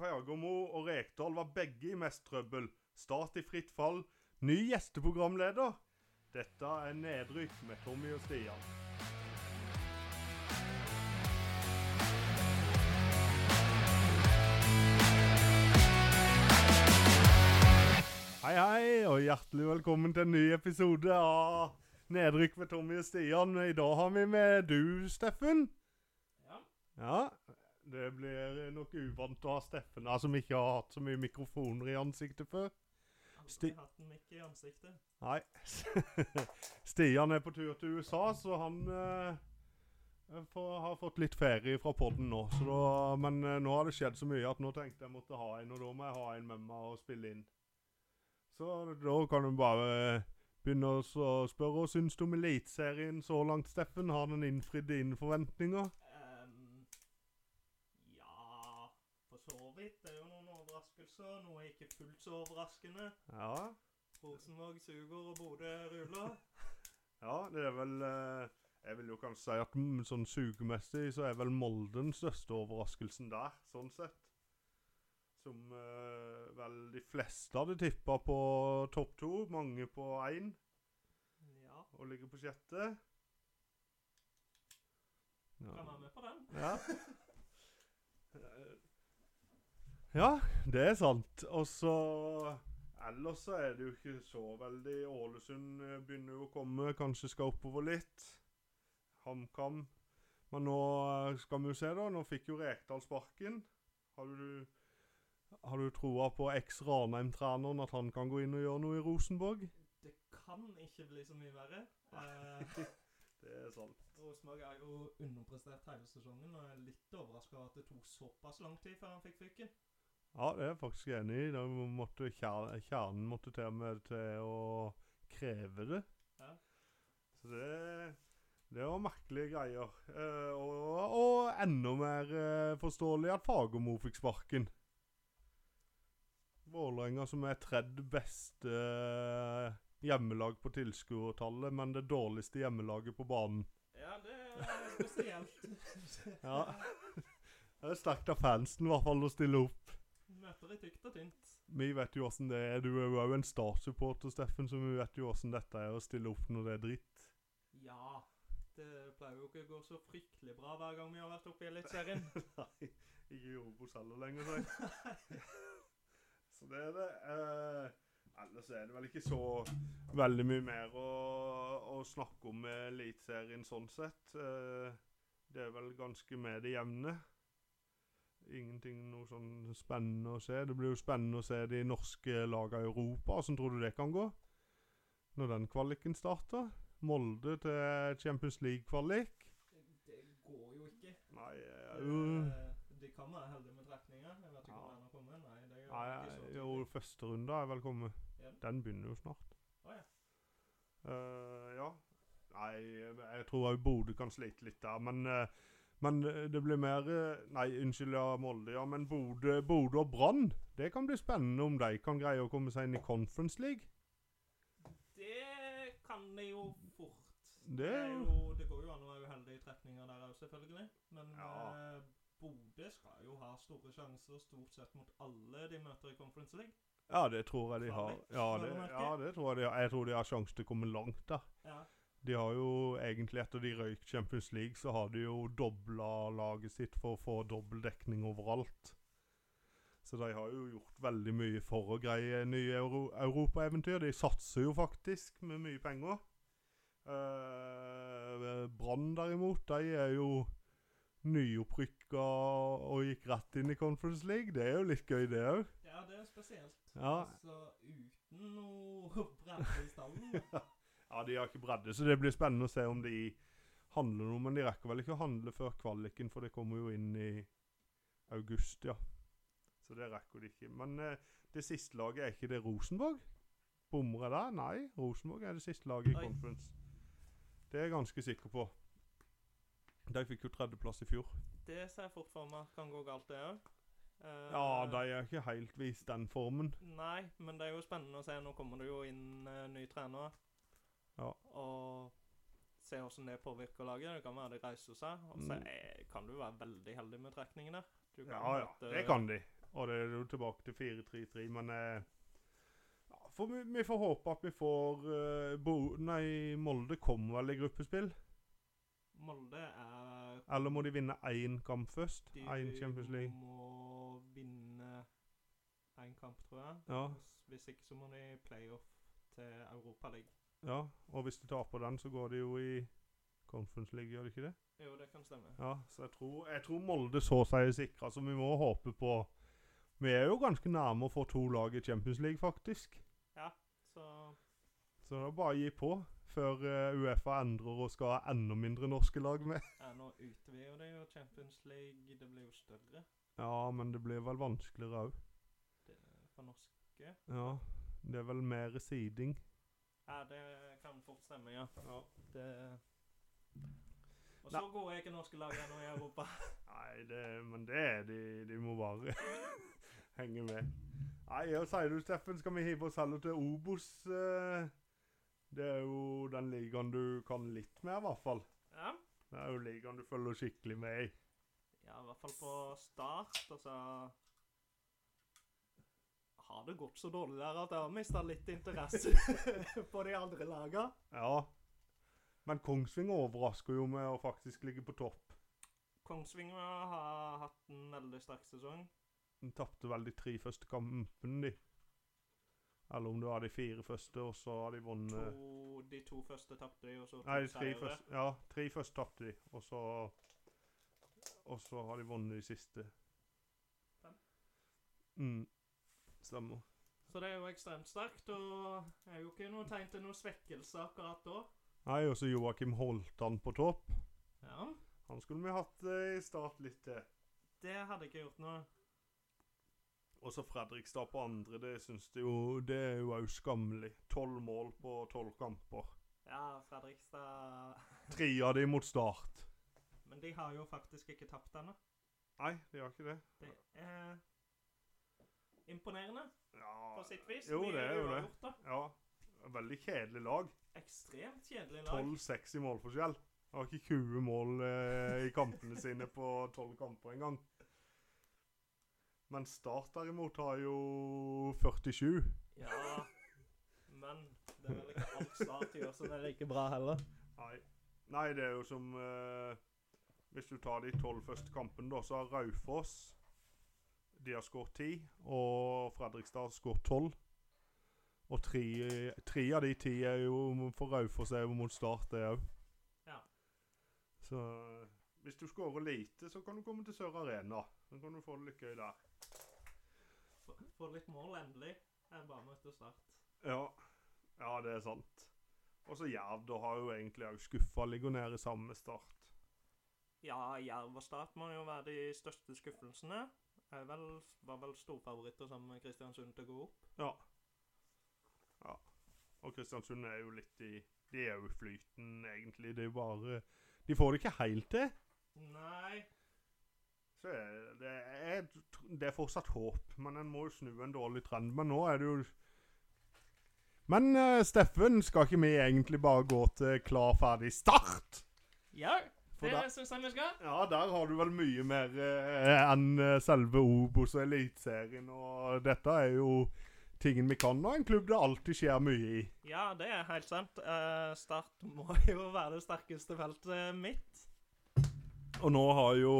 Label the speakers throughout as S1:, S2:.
S1: Fagermo og Rekdal var begge i mest trøbbel. Start i fritt fall. Ny gjesteprogramleder. Dette er Nedrykk med Tommy og Stian. Hei, hei, og hjertelig velkommen til en ny episode av Nedrykk med Tommy og Stian. I dag har vi med du, Steffen.
S2: Ja.
S1: Ja, det blir nok uvant å ha Steffen her, som ikke har hatt så mye mikrofoner i ansiktet før. Sti-
S2: Aldri hatt en mikk i ansiktet.
S1: Nei. Stian er på tur til USA, så han eh, får, har fått litt ferie fra podden nå. Så da, men eh, nå har det skjedd så mye at nå tenkte jeg måtte ha en, og da må jeg ha en med meg og spille inn. Så da kan du bare eh, begynne å s- å spørre hva syns du om Eliteserien så langt, Steffen? Har den innfridd dine forventninger?
S2: Ehm, ja For så vidt. Det er jo noen overraskelser. Noe ikke fullt så overraskende.
S1: Ja.
S2: Rosenborg suger og Bodø ruller.
S1: Ja, det er vel eh, Jeg vil jo kanskje si at mm, sånn sugemessig så er vel Molde den største overraskelsen der, sånn sett. Som eh, vel de fleste hadde tippa på topp to, mange på én,
S2: Ja,
S1: og ligger på sjette.
S2: kan være med på den.
S1: Ja.
S2: Eh,
S1: ja, det er sant. Og så Ellers så er det jo ikke så veldig Ålesund eh, begynner jo å komme, kanskje skal oppover litt. HamKam. Men nå eh, skal vi jo se, da. Nå fikk jo Rekdal sparken. Har du, har du troa på eks-Ranheim-treneren, at han kan gå inn og gjøre noe i Rosenborg?
S2: Det kan ikke bli så mye verre. Eh,
S1: Det er sant.
S2: Rosenborg har jo underprestert hele sesongen, og jeg er litt overraska over at det tok såpass lang tid før han fikk fyken.
S1: Ja, det er jeg faktisk enig i. Da måtte kjer- Kjernen måtte til og med til å kreve det.
S2: Ja.
S1: Så det, det var merkelige greier. Eh, og, og enda mer eh, forståelig at Fagermo fikk sparken. Vålerenga som er tredje beste eh, hjemmelag på tilskuertallet, men det dårligste hjemmelaget på banen.
S2: Ja, det er spesielt.
S1: Ja. Det er sterkt av fansen i hvert fall å stille opp.
S2: Møter i tykt og tynt.
S1: Vi vet jo åssen det er. Du er jo òg en Star-supporter, Steffen, så vi vet jo åssen dette er å stille opp når det er dritt.
S2: Ja. Det pleier jo ikke å gå så fryktelig bra hver gang vi har vært oppe i Eliteserien.
S1: Nei, ikke Jorobos heller lenger, sier jeg. så det er det. Eh, ellers er det vel ikke så veldig mye mer å, å snakke om med Eliteserien sånn sett. Eh, det er vel ganske med det jevne. Ingenting noe sånn spennende å se. Det blir jo spennende å se de norske lagene i Europa. Hvordan tror du det kan gå? Når den kvaliken starter? Molde til Champions League-kvalik?
S2: Det går jo ikke.
S1: Nei,
S2: Eh,
S1: eh, jo.
S2: De kan være heldige med trekninger. Jeg vet ikke
S1: Ja.
S2: hvor den har kommet. Nei, det er jo ikke så
S1: Nei, jo,
S2: tydelig.
S1: første runde er vel kommet.
S2: Ja.
S1: Den begynner jo snart.
S2: Å ja.
S1: Eh, ja. Nei, jeg tror òg Bodø kan slite litt der, men eh, men det blir mer eh, Nei, unnskyld, ja, Molde, ja. Men Bodø Bodø og Brann, det kan bli spennende om de kan greie å komme seg inn i Conference League.
S2: Det kan de jo fort.
S1: Det
S2: Det,
S1: er
S2: er
S1: jo
S2: jo, det går jo an å være uheldig i trekninger der òg, selvfølgelig. Men
S1: Ja.
S2: eh, Bodø skal jo ha store sjanser stort sett mot alle de møter i Conference League.
S1: Ja, det tror jeg de har.
S2: Farlig,
S1: Ja,
S2: vel
S1: det,
S2: å merke.
S1: ja, det tror jeg de har. Jeg tror de har sjanse til å komme langt der.
S2: Ja.
S1: De har jo egentlig, etter de røyk Champions League, så har de jo dobla laget sitt for å få dobbel dekning overalt. Så de har jo gjort veldig mye for å greie nye euro europaeventyr. De satser jo faktisk med mye penger. Eh, Brann derimot, de er jo nyopprykka og gikk rett inn i Conference League. Det er jo litt gøy, det òg.
S2: ja, det er spesielt.
S1: Ja.
S2: Altså uten noe bredde i stallen.
S1: Ja, de har ikke bredde, så det blir spennende å se om de handler noe. Men de rekker vel ikke å handle før kvaliken, for det kommer jo inn i august, ja. Så det rekker de ikke. Men eh, det siste laget, er ikke det Rosenborg? Bommer jeg der? Nei, Rosenborg er det siste laget i
S2: Oi.
S1: Conference. Det er jeg ganske sikker på. De fikk jo tredjeplass i fjor.
S2: Det ser jeg fort for meg kan gå galt, det òg.
S1: Ja, de er ikke helt vist den formen.
S2: Nei, men det er jo spennende å se. Nå kommer det jo inn eh, ny trener.
S1: Ja.
S2: Og se hvordan det påvirker laget. Det kan være det reiser seg. Og så
S1: Mm.
S2: er- kan du være veldig heldig med trekningen der. Du
S1: Ja, ja,
S2: møte-
S1: det kan de. Og det er jo tilbake til 4-3-3, men eh, ja, for vi, vi får håpe at vi får eh, Bo Nei, Molde kommer vel i gruppespill?
S2: Molde er
S1: Eller må de vinne én kamp først? Én Champions
S2: De
S1: League?
S2: må vinne én kamp, tror jeg.
S1: Ja.
S2: Hvis ikke så må de playoff til Europa League.
S1: ja. Og hvis de taper den, så går de jo i Conference League, gjør de ikke det?
S2: Jo, det kan stemme.
S1: Ja, så jeg tror, jeg tror Molde så seg sikra, så vi må håpe på Vi er jo ganske nærme å få to lag i Champions League, faktisk.
S2: Så
S1: Så det er bare å gi på før eh, Uefa endrer og skal ha enda mindre norske lag med.
S2: ja, nå utvider det jo Champions League. Det blir jo større
S1: Ja, men det blir vel vanskeligere òg.
S2: det, for norsk.
S1: Ja. Det er vel mer siding.
S2: Ja, det kan fort stemme, ja.
S1: Ja.
S2: Det Og så går jeg ikke norske lag ennå i Europa.
S1: Nei, det, men det er de. De må bare henge med. Nei, hva sier du, Steffen? Skal vi hive oss heller til Obos? eh? Det er jo den ligaen du kan litt med, i hvert fall.
S2: Ja.
S1: Det er jo ligaen du følger skikkelig med i.
S2: Ja, i hvert fall på start, altså Har det gått så dårlig der at jeg har mista litt interesse på de andre laga?
S1: Ja. Men Kongsvinger overrasker jo med å faktisk ligge på topp.
S2: Kongsvinger har hatt en veldig sterk sesong.
S1: De tapte vel de tre første kampene, de. Eller om det var de fire første, og så har de vunnet
S2: To, de to første tapte de, og så to
S1: Nei, de tre
S2: seire.
S1: første, ja, tre første tapte de, og så Og så har de vunnet de siste.
S2: Fem.
S1: Mm. Stemmer.
S2: Så det er jo ekstremt sterkt, og det er jo ikke noe tegn til noe svekkelse akkurat da.
S1: Nei, og så Joakim Holtan på topp.
S2: Ja,
S1: Han skulle vi hatt eh, i start litt til.
S2: Det hadde ikke gjort noe.
S1: Og så Fredrikstad på andre, det syns jeg jo Det er jo òg skammelig. Tolv mål på tolv kamper.
S2: Ja, Fredrikstad
S1: Tre av de mot Start.
S2: Men de har jo faktisk ikke tapt ennå.
S1: Nei, de har ikke det.
S2: Det er imponerende
S1: Ja,
S2: på sitt vis.
S1: Jo,
S2: Mye
S1: det er jo det.
S2: uavgjort, da.
S1: ja. Veldig kjedelig lag.
S2: ekstremt kjedelig lag.
S1: 12-6 i målforskjell. De har ikke 20 mål eh, i kampene sine på 12 kamper engang. Men Start derimot har jo 47.
S2: Ja, men det er vel ikke alt Start gjør som er like bra heller.
S1: Nei. Nei, det er jo som eh, Hvis du tar de tolv første kampene, da, så har Raufoss De har skåret ti, og Fredrikstad har skåret tolv. Og tre, tre av de ti er jo for Raufoss er jo mot Start, det òg.
S2: Ja.
S1: Så eh, hvis du skårer lite, så kan du komme til Sør Arena. Så kan du få det litt gøy der.
S2: Få- Få litt mål, endelig. Jeg bare møtte Start.
S1: Ja, ja det er sant. Og så Jerv, da har jo egentlig òg skuffa. Ligger nede i samme start.
S2: Ja, Jerv og Start må jo være de største skuffelsene. Jeg vel, var vel storfavoritter sammen med Kristiansund til å gå opp.
S1: Ja. ja. Og Kristiansund er jo litt i De er jo i flyten, egentlig. Det er jo bare De får det ikke helt til.
S2: Nei,
S1: Så er det, er, det er fortsatt håp, men en må jo snu en dårlig trend. Men nå er det jo Men eh, Steffen, skal ikke vi egentlig bare gå til klar, ferdig, start?
S2: ja,
S1: For da-
S2: syns jeg vi skal.
S1: Ja, der har du vel mye mer eh, enn eh, selve Obos og Eliteserien. Og dette er jo tingen vi kan, og en klubb det alltid skjer mye i.
S2: Ja, det er helt sant. Eh, start må jo være det sterkeste feltet mitt.
S1: Og nå har jo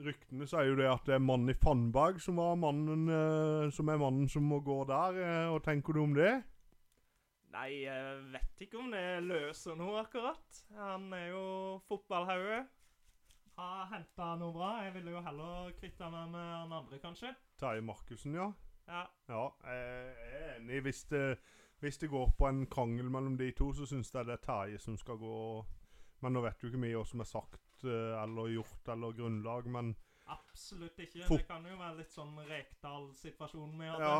S1: Ryktene sier jo det at det er mannen i Fannberg som, var mannen, eh, som er mannen som må gå der. eh, Hva tenker du om det?
S2: Nei, jeg vet ikke om det løser noe akkurat. Han er jo fotballhauge. Har henta noe bra. Jeg ville jo heller kvitta meg med han andre, kanskje.
S1: Terje Markussen, ja.
S2: Ja,
S1: Ja, jeg er enig. Hvis det, hvis det går på en krangel mellom de to, så syns jeg det er Terje som skal gå. Men nå vet du ikke mye hva som er sagt eh, eller gjort eller grunnlag, men
S2: absolutt ikke.
S1: Fot-
S2: Det kan jo være litt sånn Rekdal-situasjonen med at
S1: ja.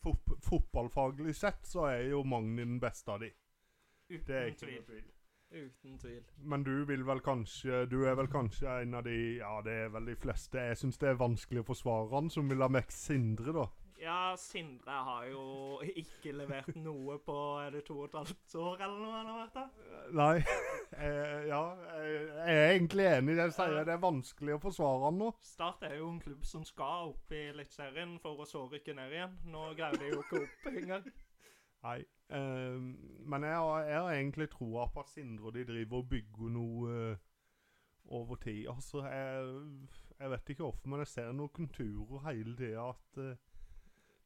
S1: Fot fotballfaglig sett så er jo Magni den beste av de.
S2: han-
S1: Det er
S2: Uten
S1: ikke
S2: tvil.
S1: noe tvil.
S2: Uten tvil.
S1: Men du vil vel kanskje Du er vel kanskje en av de Ja, det er vel de fleste. Jeg syns det er vanskelig å forsvare han, som vil ha Mex Sindre, da.
S2: Ja, Sindre har jo ikke levert noe på er det to og et halvt år eller noe. han har vært der?
S1: Nei. Eh, ja, jeg jeg er egentlig enig i det. Jeg sier det er vanskelig å forsvare han nå.
S2: Start er jo en klubb som skal opp i Eliteserien for å så rykke ned igjen. Nå greier de jo ikke opp engang.
S1: Nei. Eh, men jeg har, jeg har egentlig troa på at Sindre og de driver og bygger noe eh, over tid. Altså, jeg, jeg vet ikke hvorfor, men jeg ser noen konturer hele tida at eh,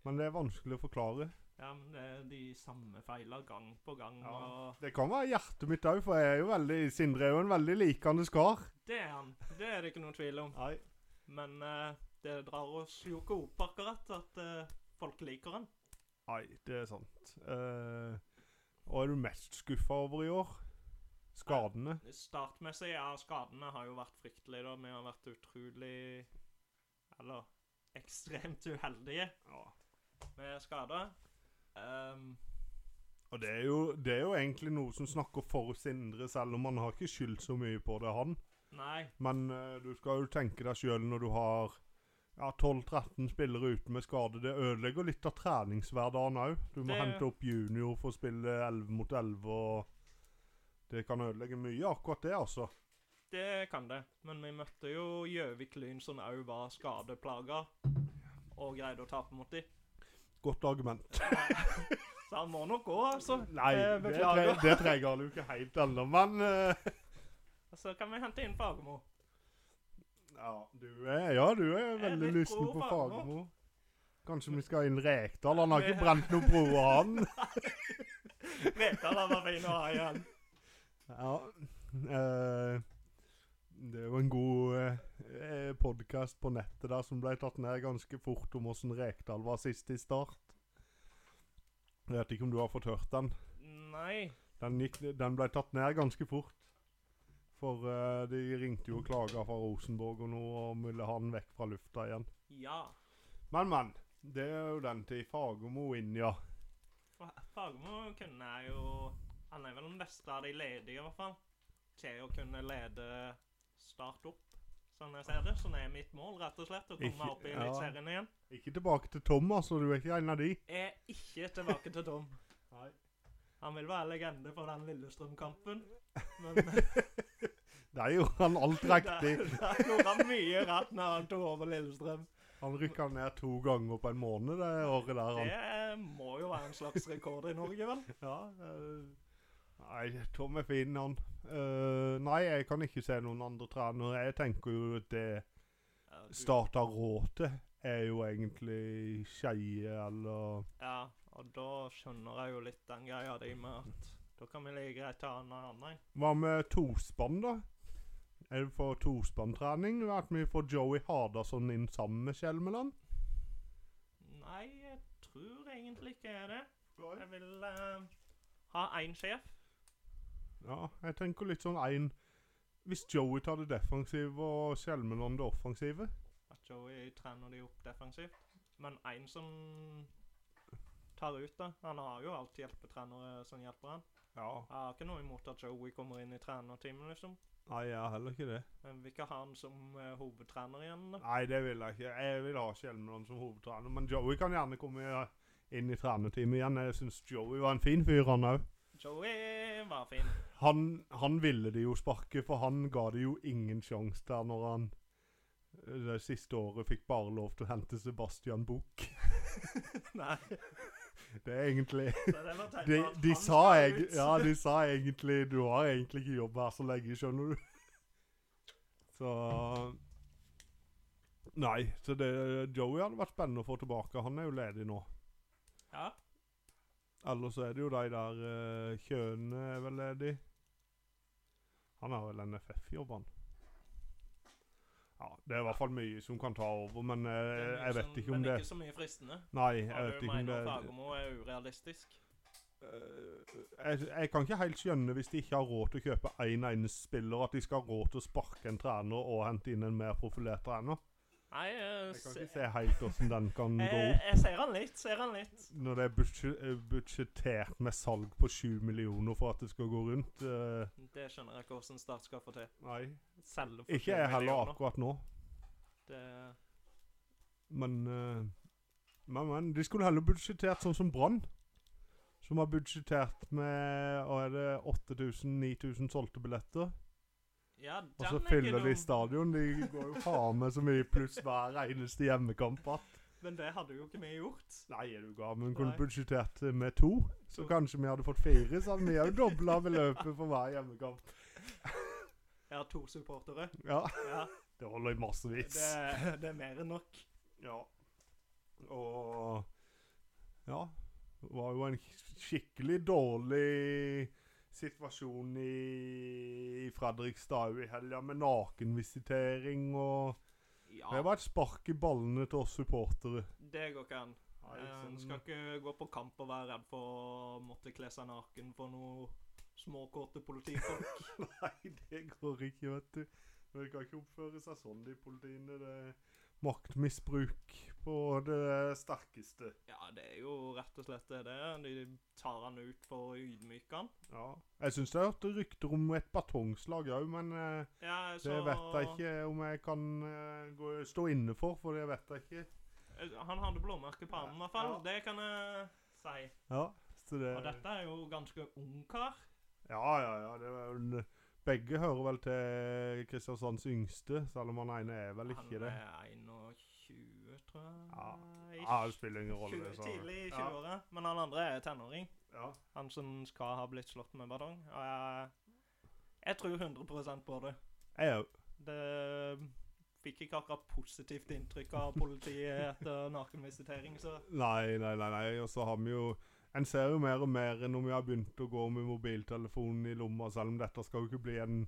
S1: Men det er vanskelig å forklare.
S2: Ja, men det er de samme feiler gang på gang.
S1: Ja.
S2: og...
S1: Det kan være hjertet mitt òg, for jeg er jo veldig, Sindre er jo en veldig likende skar.
S2: Det er han. Det er det ikke noen tvil om.
S1: Nei.
S2: Men eh, det drar oss jo ikke opp akkurat at eh, folk liker han.
S1: Nei, det er sant. Eh, hva er du mest skuffa over i år? Skadene?
S2: Startmessig, ja, skadene har jo vært fryktelige. da. Vi har vært utrolig Eller ekstremt uheldige
S1: Ja.
S2: med skader. Ehm,
S1: Og det er, jo, det er jo egentlig noe som snakker for Sindre, selv om han har ikke skyldt så mye på det, han.
S2: nei,
S1: Men eh, du skal jo tenke deg sjøl når du har ja, 12-13 spillere ute med skade. Det ødelegger litt av treningshverdagen òg. Du må
S2: Det-
S1: hente opp junior for å spille 11 mot 11, og det kan ødelegge mye, akkurat det, altså.
S2: det kan det. Men vi møtte jo Gjøvik Lyn, som òg var skadeplaga, og greide å tape mot dem.
S1: Godt argument.
S2: Så han må nok gå, altså.
S1: Nei,
S2: Eh,
S1: det,
S2: beklager.
S1: tre- det trenger han jo ikke helt ennå, men eh,
S2: Så kan vi hente inn Fagermo.
S1: ja, du er, ja, du er
S2: Jeg er
S1: veldig
S2: litt
S1: lysten
S2: pro
S1: på
S2: Fagermo.
S1: Fagermo. Kanskje vi skal inn Rekdal? Han har ikke brent noe broer, han.
S2: Rekdal han var fin å ha igjen.
S1: Ja. eh, det er jo en god eh, podkast på nettet der som ble tatt ned ganske fort om åssen Rekdal var sist i start. Jeg vet ikke om du har fått hørt den.
S2: Nei.
S1: Den, gikk, den ble tatt ned ganske fort. For eh, de ringte jo og klaga fra Rosenborg og noe, og ville ha den vekk fra lufta igjen.
S2: Ja.
S1: Men, men. Det er jo den til Fagermo inn, ja.
S2: Fa- Fagermo kunne jeg jo Han er vel den beste av de ledige, i hvert fall. Til å kunne lede Start opp, sånn jeg ser det. Sånn er mitt mål, rett og slett. Å komme
S1: Ikke-
S2: meg opp i
S1: ja.
S2: Eliteserien igjen.
S1: Ikke tilbake til Tom, altså. Du er ikke en av de.
S2: Jeg er ikke tilbake til Tom.
S1: Nei.
S2: Han vil være legende for den Lillestrøm-kampen. Men eh,
S1: Der gjorde han alt riktig.
S2: der, der gjorde han mye rett når han tok over Lillestrøm.
S1: Han rykka ned to ganger på en måned det året der. Han.
S2: Det eh, må jo være en slags rekord i Norge, vel?
S1: Ja, eh, nei, Tom er fin, han. Eh, nei, jeg kan ikke se noen andre trenere. Jeg tenker jo at det
S2: Ja, du-
S1: Start har råd til, er jo egentlig Skeie eller
S2: Ja, og da skjønner jeg jo litt den greia di med at da kan vi like greit ta en annen.
S1: Hva med tospann, da? Er det for tospanntrening? At vi får Joey Hardasson inn sammen med Skjelmeland?
S2: Nei, jeg tror egentlig ikke jeg er det. Jeg vil eh, ha én sjef.
S1: Ja, jeg tenker litt sånn én Hvis Joey tar det defensive og Skjelmeland det offensive
S2: At Joey trener de opp defensivt. Men én som tar ut, da. Han har jo alt hjelpetrenere som hjelper han.
S1: Ja.
S2: Jeg har ikke noe imot at Joey kommer inn i trenerteamet, liksom.
S1: Nei, jeg har heller ikke det.
S2: Men vi kan ha han som eh, hovedtrener igjen. da.
S1: Nei, det vil jeg ikke. Jeg vil ha Kjelmeland som hovedtrener. Men Joey kan gjerne komme inn i trenerteamet igjen. Jeg syns Joey var en fin fyr, han òg.
S2: Joey var fin.
S1: Han, han ville de jo sparke, for han ga det jo ingen sjanse der når han eh, det siste året fikk bare lov til å hente Sebastian Buch.
S2: Nei,
S1: Det er egentlig
S2: så det var tegn på
S1: de,
S2: at
S1: de,
S2: han
S1: sa
S2: skal
S1: eg,
S2: ut.
S1: ja, de sa egentlig Du har egentlig ikke jobb her så lenge, skjønner du. Så Nei. Så det, Joey hadde vært spennende å få tilbake. Han er jo ledig nå.
S2: ja.
S1: Ellers så er det jo de der uh, Kjøne er vel ledig. Han har vel NFF-jobb, han. Ja, det er i hvert fall mye som kan ta over, men eh,
S2: Det er mye
S1: jeg
S2: som-
S1: vet ikke om
S2: Men
S1: det
S2: ikke så mye fristende.
S1: Nei, jeg
S2: Jeg
S1: vet
S2: du
S1: ikke om
S2: mener
S1: det
S2: Fagermo er urealistisk?
S1: Eh, jeg, jeg kan ikke helt skjønne, hvis de ikke har råd til å kjøpe én en eneste spiller, at de skal ha råd til å sparke en trener og hente inn en mer profilert trener.
S2: Nei, jeg,
S1: Jeg kan ikke
S2: se-
S1: se helt åssen den kan gå
S2: jeg,
S1: opp.
S2: jeg ser han litt, ser han litt.
S1: Når det er budsje- eh, budsjettert med salg på sju millioner for at det skal gå rundt. eh,
S2: Det skjønner jeg ikke hvordan Start skal få til.
S1: nei.
S2: Selge for
S1: Ikke
S2: 20
S1: jeg heller
S2: millioner.
S1: akkurat nå,
S2: Det,
S1: men eh, Men, men, de skulle heller budsjettert sånn som Brann. Som har budsjettert med hva er det, 8000-9000 solgte billetter.
S2: Ja, den
S1: Og så
S2: er ikke
S1: fyller de
S2: dum.
S1: stadion. De går jo faen meg så mye pluss hver eneste hjemmekamp at
S2: Men det hadde jo ikke vi gjort.
S1: Nei, er du gal, men kunne
S2: Nei.
S1: budsjettert med to. Så
S2: To.
S1: kanskje vi hadde fått fire, så hadde vi òg dobla beløpet for hver hjemmekamp.
S2: Jeg har to supportere.
S1: Ja,
S2: Ja,
S1: det holder i
S2: det,
S1: massevis.
S2: det er mer enn nok.
S1: Ja. Og Ja. Det var jo en skikkelig dårlig situasjon i, i Fredrikstad òg i helga, med nakenvisitering og Det
S2: Ja,
S1: var et spark i ballene til oss supportere. sånn,
S2: det liksom- går ikke an. En skal ikke gå på kamp og være redd for å måtte kle seg naken for noe småkåte politifolk.
S1: Nei, det går ikke, vet du. Men de kan ikke oppføre seg sånn, de politiene. Det er maktmisbruk på det sterkeste.
S2: Ja, det er jo rett og slett det det er. De tar han ut for å ydmyke han.
S1: Ja. Jeg syns jeg hørte rykter om et batongslag òg, men eh,
S2: Ja,
S1: det vet jeg ikke om jeg kan eh, gå, stå inne for, for det vet jeg ikke.
S2: Eh, Han hadde blåmerke på armen i hvert fall.
S1: Ja.
S2: Det kan jeg si.
S1: Ja, så det
S2: Og dette er jo ganske ung kar.
S1: Ja, ja, ja. Det er vel, begge hører vel til Kristiansands yngste, selv om han ene er vel
S2: Han
S1: ikke det.
S2: er 21, tror
S1: Ja.
S2: jeg.
S1: Ja, det spiller ingen rolle.
S2: Tjue-
S1: så-
S2: Tidlig i
S1: Ja,
S2: 20-åra. Men han andre er tenåring.
S1: ja.
S2: Han som skal ha blitt slått med ballong. Og jeg, jeg tror 100 på det.
S1: Jeg òg.
S2: Det fikk ikke akkurat positivt inntrykk av politiet etter nakenvisitering, så
S1: Nei, nei, nei, nei. Og så har vi jo En ser jo mer og mer når vi har begynt å gå med mobiltelefonen i lomma, selv om dette skal jo ikke bli en,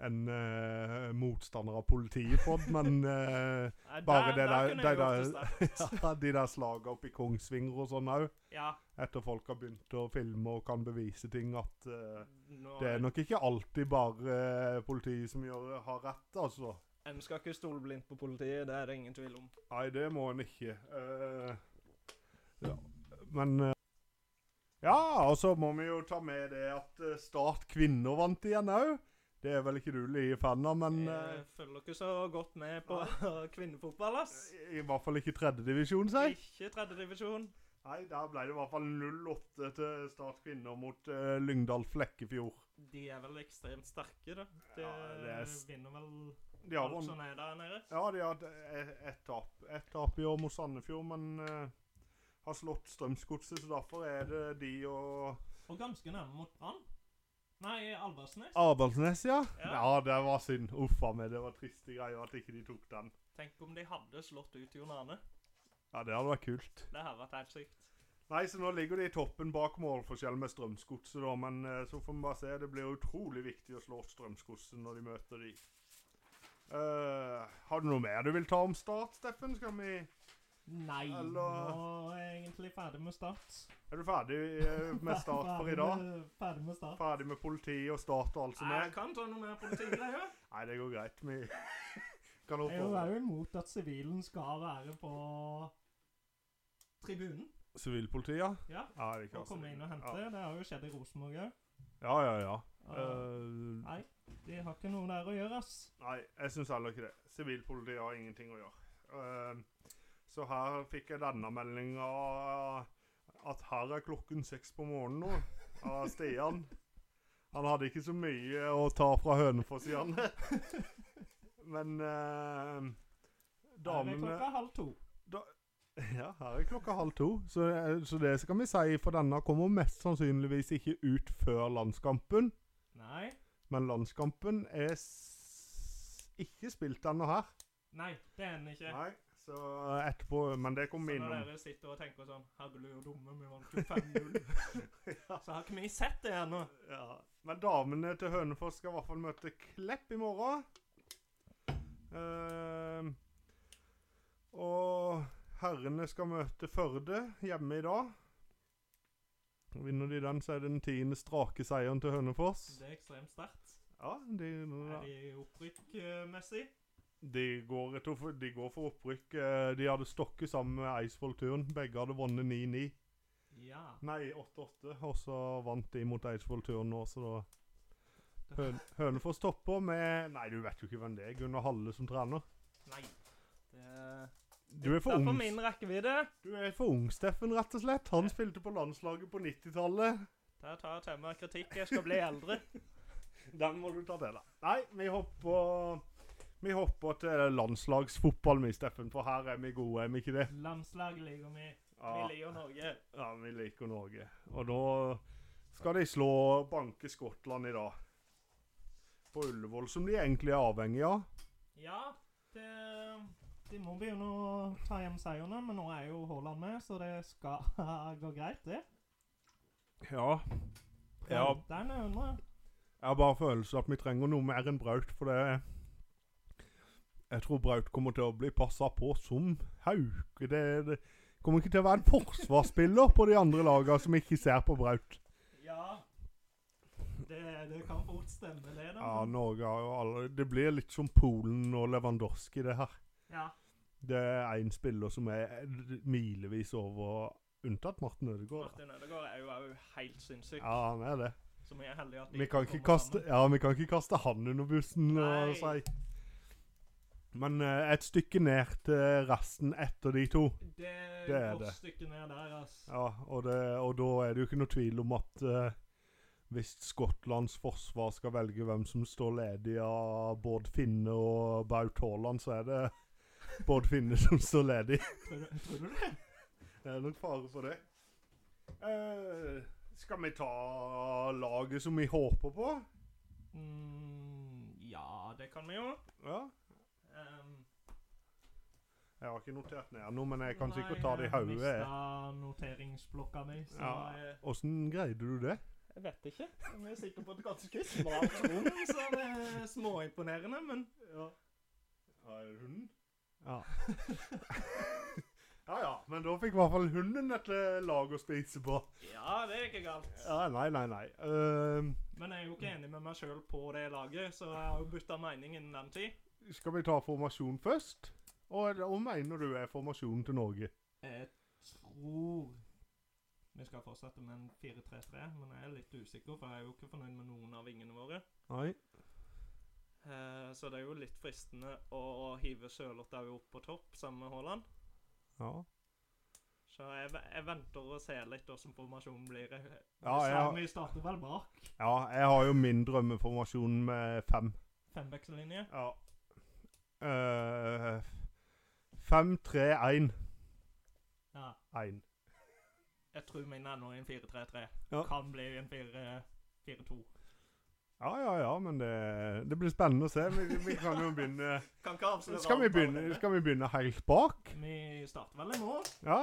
S1: en eh, motstander av politiet, Pod, men eh,
S2: Nei,
S1: Bare det der-
S2: kunne
S1: det
S2: jeg gjort
S1: der-
S2: sterkt.
S1: ja, de der slaga oppe i Kongsvinger og sånn òg,
S2: Ja,
S1: etter folk har begynt å filme og kan bevise ting, at eh,
S2: nå,
S1: det er nok ikke alltid bare eh, politiet som gjør, har rett, altså.
S2: En skal ikke stole blindt på politiet, det er det ingen tvil om.
S1: Nei, det må en ikke. Eh, ja. Men eh, Ja, og så må vi jo ta med det at eh, Start kvinner vant igjen òg. Det er vel ikke du like fan av, men
S2: jeg følger ikke så godt med på kvinnefotball, ass.
S1: eh, i hvert fall ikke tredjedivisjon, si.
S2: Ikke tredjedivisjon.
S1: Nei, der ble det i hvert fall 0-8 til Start kvinner mot eh, Lyngdal Flekkefjord.
S2: De er vel ekstremt sterke, da. De
S1: Ja, det er s-
S2: vinner vel
S1: De har
S2: alt
S1: vunnet
S2: som er der nede.
S1: Ja, de har hatt e- ett tap. Ett tap i år mot Sandefjord, men eh, har slått Strømsgodset, så derfor er det de og
S2: Og ganske nærme mot Brann. Nei, Alversnes.
S1: Abaldsnes, ja.
S2: Ja.
S1: ja. det var synd. Uffa meg, det var triste greier at ikke de tok den.
S2: Tenk om de hadde slått ut Jon Arne.
S1: Ja, det hadde vært kult.
S2: Det hadde vært helt sykt.
S1: Nei, så nå ligger de i toppen bak målforskjell med Strømsgodset, da. Men eh, så får vi bare se. Det blir utrolig viktig å slå Strømsgodset når de møter de. Eh, har du noe mer du vil ta om Start, Steffen? Skal vi
S2: Nei,
S1: Eller-
S2: nå er jeg egentlig ferdig med Start.
S1: Er du ferdig eh, med Start for i dag?
S2: Ferdig med Start.
S1: Ferdig med politi og Start og alt som
S2: Nei,
S1: er?
S2: jeg kan ta noe mer politigreier.
S1: Nei, det går greit. Vi kan
S2: Jeg er
S1: hoppe
S2: jo imot at sivilen skal være på tribunen
S1: Sivilpolitiet, ja?
S2: Ja,
S1: Ja, det kan
S2: og komme inn og hente. Det har jo skjedd i Rosenborg òg.
S1: Ja, ja, ja. ja. Eh,
S2: Nei, de har ikke noe der å gjøre, ass.
S1: Nei, jeg syns heller ikke det. Sivilpolitiet har ingenting å gjøre. Eh, så her fikk jeg denne meldinga at her er klokken seks på morgenen nå, av Stian. Han hadde ikke så mye å ta fra Hønefoss igjen. Men eh,
S2: Nei, det er
S1: damene
S2: klokka halv to.
S1: Ja, her er klokka halv to. Så, eh, så det skal vi si, for denne kommer mest sannsynligvis ikke ut før landskampen.
S2: Nei.
S1: Men landskampen er s ikke spilt ennå her.
S2: Nei, det er den ikke.
S1: Nei, så etterpå Men det
S2: Så
S1: kommer vi
S2: når
S1: innom.
S2: dere sitter og tenker sånn Herre, du er jo dumme, vi vant 25-0. Så har ikke vi sett det ennå.
S1: Ja. Men damene til Hønefoss skal i hvert fall møte Klepp i morgen. Ehm, og herrene skal møte Førde hjemme i dag. Vinner de den, så er det den tiende strake seieren til Hønefoss.
S2: Det er ekstremt sterkt.
S1: Ja, de,
S2: Er de eh, opprykkmessig?
S1: De går, jeg tror for, de går for opprykk. Eh, De hadde stokket sammen med Eidsvoll Turn. Begge hadde vunnet 9-9.
S2: Ja.
S1: Nei, 8-8. Og så vant de mot Eidsvoll Turn nå, så da Høn, Hønefoss topper med Nei, du vet jo ikke hvem det er. Gunnar Halle som trener.
S2: Nei. Det
S1: Du er for
S2: Derfor
S1: ung.
S2: min rekkevidde.
S1: Du er for ung, Steffen, rett og slett. Han spilte på landslaget på 90-tallet.
S2: Der tar jeg til meg kritikk. Jeg skal bli eldre.
S1: Den må du ta til deg. Nei, vi hopper Vi hopper til landslagsfotball, vi, Steffen, for her er vi gode, er vi ikke det?
S2: Landslaget liker vi. Vi
S1: Ja,
S2: liker Norge.
S1: ja vi liker Norge. Og da skal de slå banke Skottland i dag. På Ullevål, som de egentlig er avhengig av.
S2: Ja, det, de må begynne å ta hjem seierne, men nå er jo Haaland med, så det skal gå greit, det.
S1: Ja. Ja.
S2: Den er under.
S1: Jeg har bare følelsen at vi trenger noe mer enn Braut, for det Jeg tror Braut kommer til å bli passa på som hauk. Det, det kommer ikke til å være en forsvarsspiller på de andre lagene som ikke ser på Braut.
S2: Ja. Det, det kan fort stemme, det, da.
S1: Ja, Norge har jo alle Det blir litt som Polen og Lewandowski, det her.
S2: Ja.
S1: Det er én spiller som er milevis over, unntatt Martin Ødegaard. da.
S2: Martin Ødegaard er jo òg helt sinnssyk.
S1: Ja, han er det.
S2: Så vi er heldige at de
S1: Vi kan ikke
S2: kommer
S1: kaste,
S2: sammen.
S1: ja, vi kan ikke kaste han under bussen og
S2: Nei.
S1: si Men eh, et stykke ned til resten etter de to.
S2: Det er
S1: Det er
S2: et
S1: det.
S2: godt stykke ned der, altså.
S1: Ja, og, det, og da er det jo ikke noe tvil om at eh, hvis Skottlands forsvar skal velge hvem som står ledig av Bård Finne og Baut Haaland, så er det Bård Finne som står ledig.
S2: Tror, du- tror du det?
S1: Det er nok fare for det. Eh, skal vi ta laget som vi håper på?
S2: Mm, ja, det kan vi jo.
S1: Ja.
S2: Ehm,
S1: Jeg har ikke notert ned noe, men jeg kan sikkert
S2: nei,
S1: ta det i
S2: Jeg
S1: hodet. jeg.
S2: mista noteringsblokka mi, så
S1: Ja.
S2: jeg,
S1: Åssen greide du det?
S2: jeg vet ikke. Jeg er sikker på at det kanskje ikke er smart rom, så det er småimponerende, men
S1: Ja. Har hunden? Ja. ja ja, men da fikk i hvert fall hunden et eh, lag å spise på.
S2: ja, det er ikke galt.
S1: Ja, nei, nei, nei. Ehm,
S2: Men jeg er jo ikke enig med meg sjøl på det laget, så jeg har jo bytta mening innen den tid.
S1: skal vi ta formasjon først? Og hva mener du er formasjonen til Norge?
S2: Jeg tror vi skal fortsette med en 4-3-3, men jeg er litt usikker, for jeg er jo ikke fornøyd med noen av vingene våre.
S1: Nei.
S2: Eh, så det er jo litt fristende å, å hive Sørloth òg opp på topp sammen med Haaland.
S1: Ja.
S2: Så jeg, ve- jeg venter og ser litt hvordan formasjonen blir. Jeg,
S1: Ja, jeg-
S2: vi, sa- vi starter vel bak.
S1: ja, jeg har jo min drømmeformasjon med fem.
S2: Fembackslinje.
S1: Ja. Uh, fem, tre, én.
S2: Ja.
S1: Én.
S2: Jeg tror min er nå i en 4-3-3.
S1: Ja.
S2: Kan bli en 4 4-2.
S1: Ja, ja, ja, men det, det blir spennende å se. Vi, vi kan jo begynne
S2: Kan ikke avsløre
S1: Skal vi
S2: alt
S1: begynne,
S2: allerede.
S1: skal vi begynne helt bak?
S2: Vi starter vel i mål.
S1: Ja.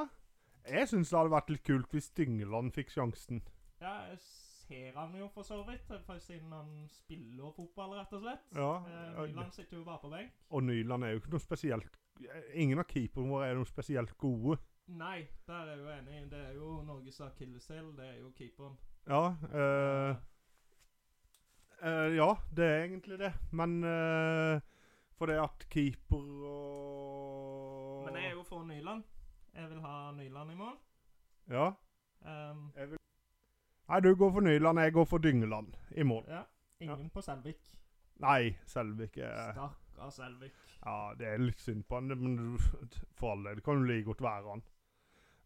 S1: Jeg syns det hadde vært litt kult hvis Dyngeland fikk sjansen.
S2: Ja, jeg ser han jo for så vidt, eh, for siden han spiller fotball, rett og slett.
S1: Ja.
S2: Eh,
S1: og-
S2: Milan sitter jo bare på benk.
S1: Og Nyland er jo ikke noe spesielt Ingen av keeperne våre er noe spesielt gode.
S2: Nei, der er jeg jo enig. Det er jo Norges akilleshæl, det er jo keeperen.
S1: Ja. eh, eh, ja, det er egentlig det. Men eh, for det at keeper og
S2: Men jeg er jo for Nyland. Jeg vil ha Nyland i mål.
S1: Ja.
S2: Um,
S1: Nei, du går for Nyland, jeg går for Dyngeland i mål.
S2: ja. Ingen på Selvik.
S1: Nei, Selvik er
S2: Stakkar Selvik.
S1: Ja, det er litt synd på han, men du- for all del kan jo like godt være han.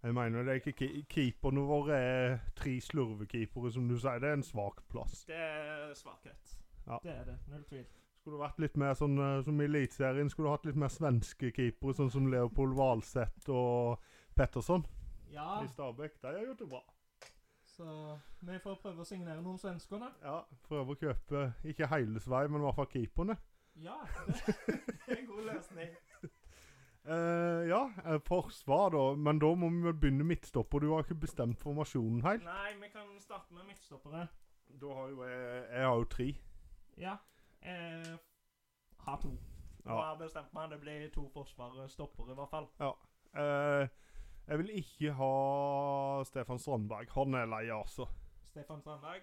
S1: Jeg mener, det er ikke ke- keeperne våre er tre slurvekeepere, som du sier. Det er en svak plass.
S2: Det er svakhet.
S1: Ja.
S2: Det er det. Null tvil.
S1: Skulle vært litt mer sånn eh, som i Eliteserien, skulle hatt litt mer svenske keepere, sånn som Leopold Valseth og Petterson
S2: Ja,
S1: i Stabæk. De har gjort det bra.
S2: så vi får prøve å signere noen svensker, da.
S1: Ja, Prøve å kjøpe ikke hele Sverige, men i hvert fall keeperne.
S2: Ja, det det er en god løsning.
S1: Eh, ja, eh, forsvar, da. Men da må vi vel begynne midtstopper. Du har ikke bestemt formasjonen helt.
S2: Nei, vi kan starte med midtstoppere.
S1: Da har jo jeg Jeg har jo tre.
S2: Ja. Eh, ha to. Nå
S1: Ja.
S2: har jeg bestemt meg. Det blir to forsvarere, stoppere i hvert fall.
S1: Eh, jeg vil ikke ha Stefan Strandberg. Han er lei, altså.
S2: Stefan Strandberg.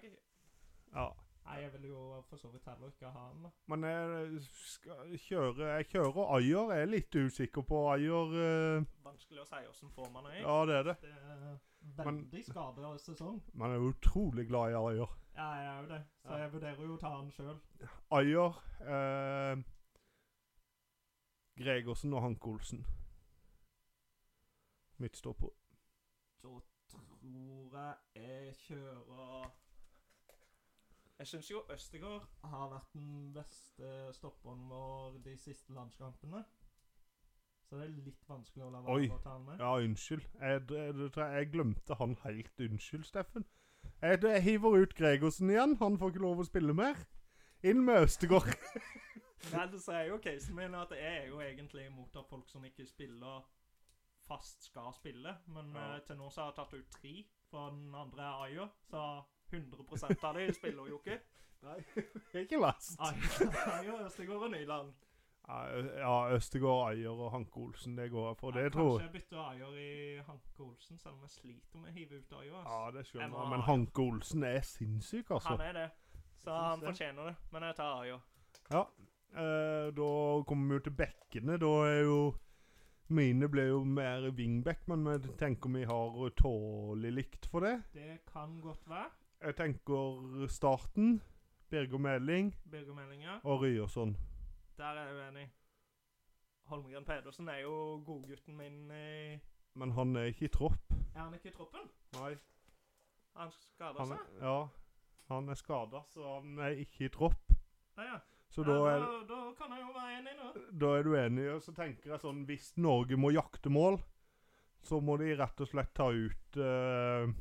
S1: Ja.
S2: Nei, jeg vil jo for så vidt heller ikke ha han. da.
S1: Men jeg skal kjøre Jeg kjører Ayer. Jeg er litt usikker på Ayer. eh,
S2: Vanskelig å si hvordan form han er i.
S1: ja, det er det.
S2: Det er veldig skada sesong.
S1: Men jeg er utrolig glad i Ayer.
S2: Ja, jeg er jo det, så
S1: Ja.
S2: jeg vurderer jo å ta han sjøl.
S1: Ayer eh, Gregersen og Hanke Olsen. Mitt står på.
S2: Da tror jeg jeg kjører Jeg syns jo Østegård har vært den beste stopperen vår de siste landskampene. Så det er litt vanskelig å la
S1: Oi.
S2: være å ta han med.
S1: Ja, unnskyld. Jeg, jeg, jeg, tror jeg glemte han helt. Unnskyld, Steffen. Jeg, jeg hiver ut Gregersen igjen. Han får ikke lov å spille mer. Inn med Østegård.
S2: Men ellers er jo casen min at jeg er jo egentlig imot at folk som ikke spiller, fast skal spille. Men
S1: Ja.
S2: eh, til nå så har jeg tatt ut tre fra den andre er Ayer, så 100 av de spiller jo ikke.
S1: Nei, ikke last.
S2: Ayer, Ayer Østegård og Nyland.
S1: Ja, Østegård, Eier og Hanke Olsen, det går jeg for. Det
S2: jeg
S1: tror jeg.
S2: Kanskje jeg bytter Ayer i Hanke Olsen, selv om jeg sliter med å hive ut Ayer. ass.
S1: Ja, det
S2: Jeg
S1: skjønner
S2: må
S1: jeg.
S2: ha
S1: Men
S2: Ayer.
S1: Hanke Olsen er sinnssyk, altså.
S2: Han er det, så
S1: Jeg
S2: han
S1: synes det.
S2: fortjener det. Men jeg tar Ayer.
S1: Eh, da kommer vi jo til bekkene. Da er jo Mine blir jo mer wingback, men vi tenker vi har tålelig likt for det.
S2: Det kan godt være.
S1: Jeg tenker starten. Birger Meling
S2: Birgermeldinger.
S1: og Ryerson.
S2: Der er jeg uenig. Holmgren Pedersen er jo godgutten min i
S1: Men han er ikke i tropp.
S2: Er han ikke i troppen?
S1: Nei.
S2: Han skada
S1: Han
S2: seg?
S1: er, ja, han er skada, så han er ikke i tropp.
S2: Ja, ja.
S1: Så
S2: ja,
S1: da
S2: da,
S1: er,
S2: da kan jeg jo være enig nå.
S1: da er du enig. Og så tenker jeg sånn Hvis Norge må jakte mål, så må de rett og slett ta ut eh,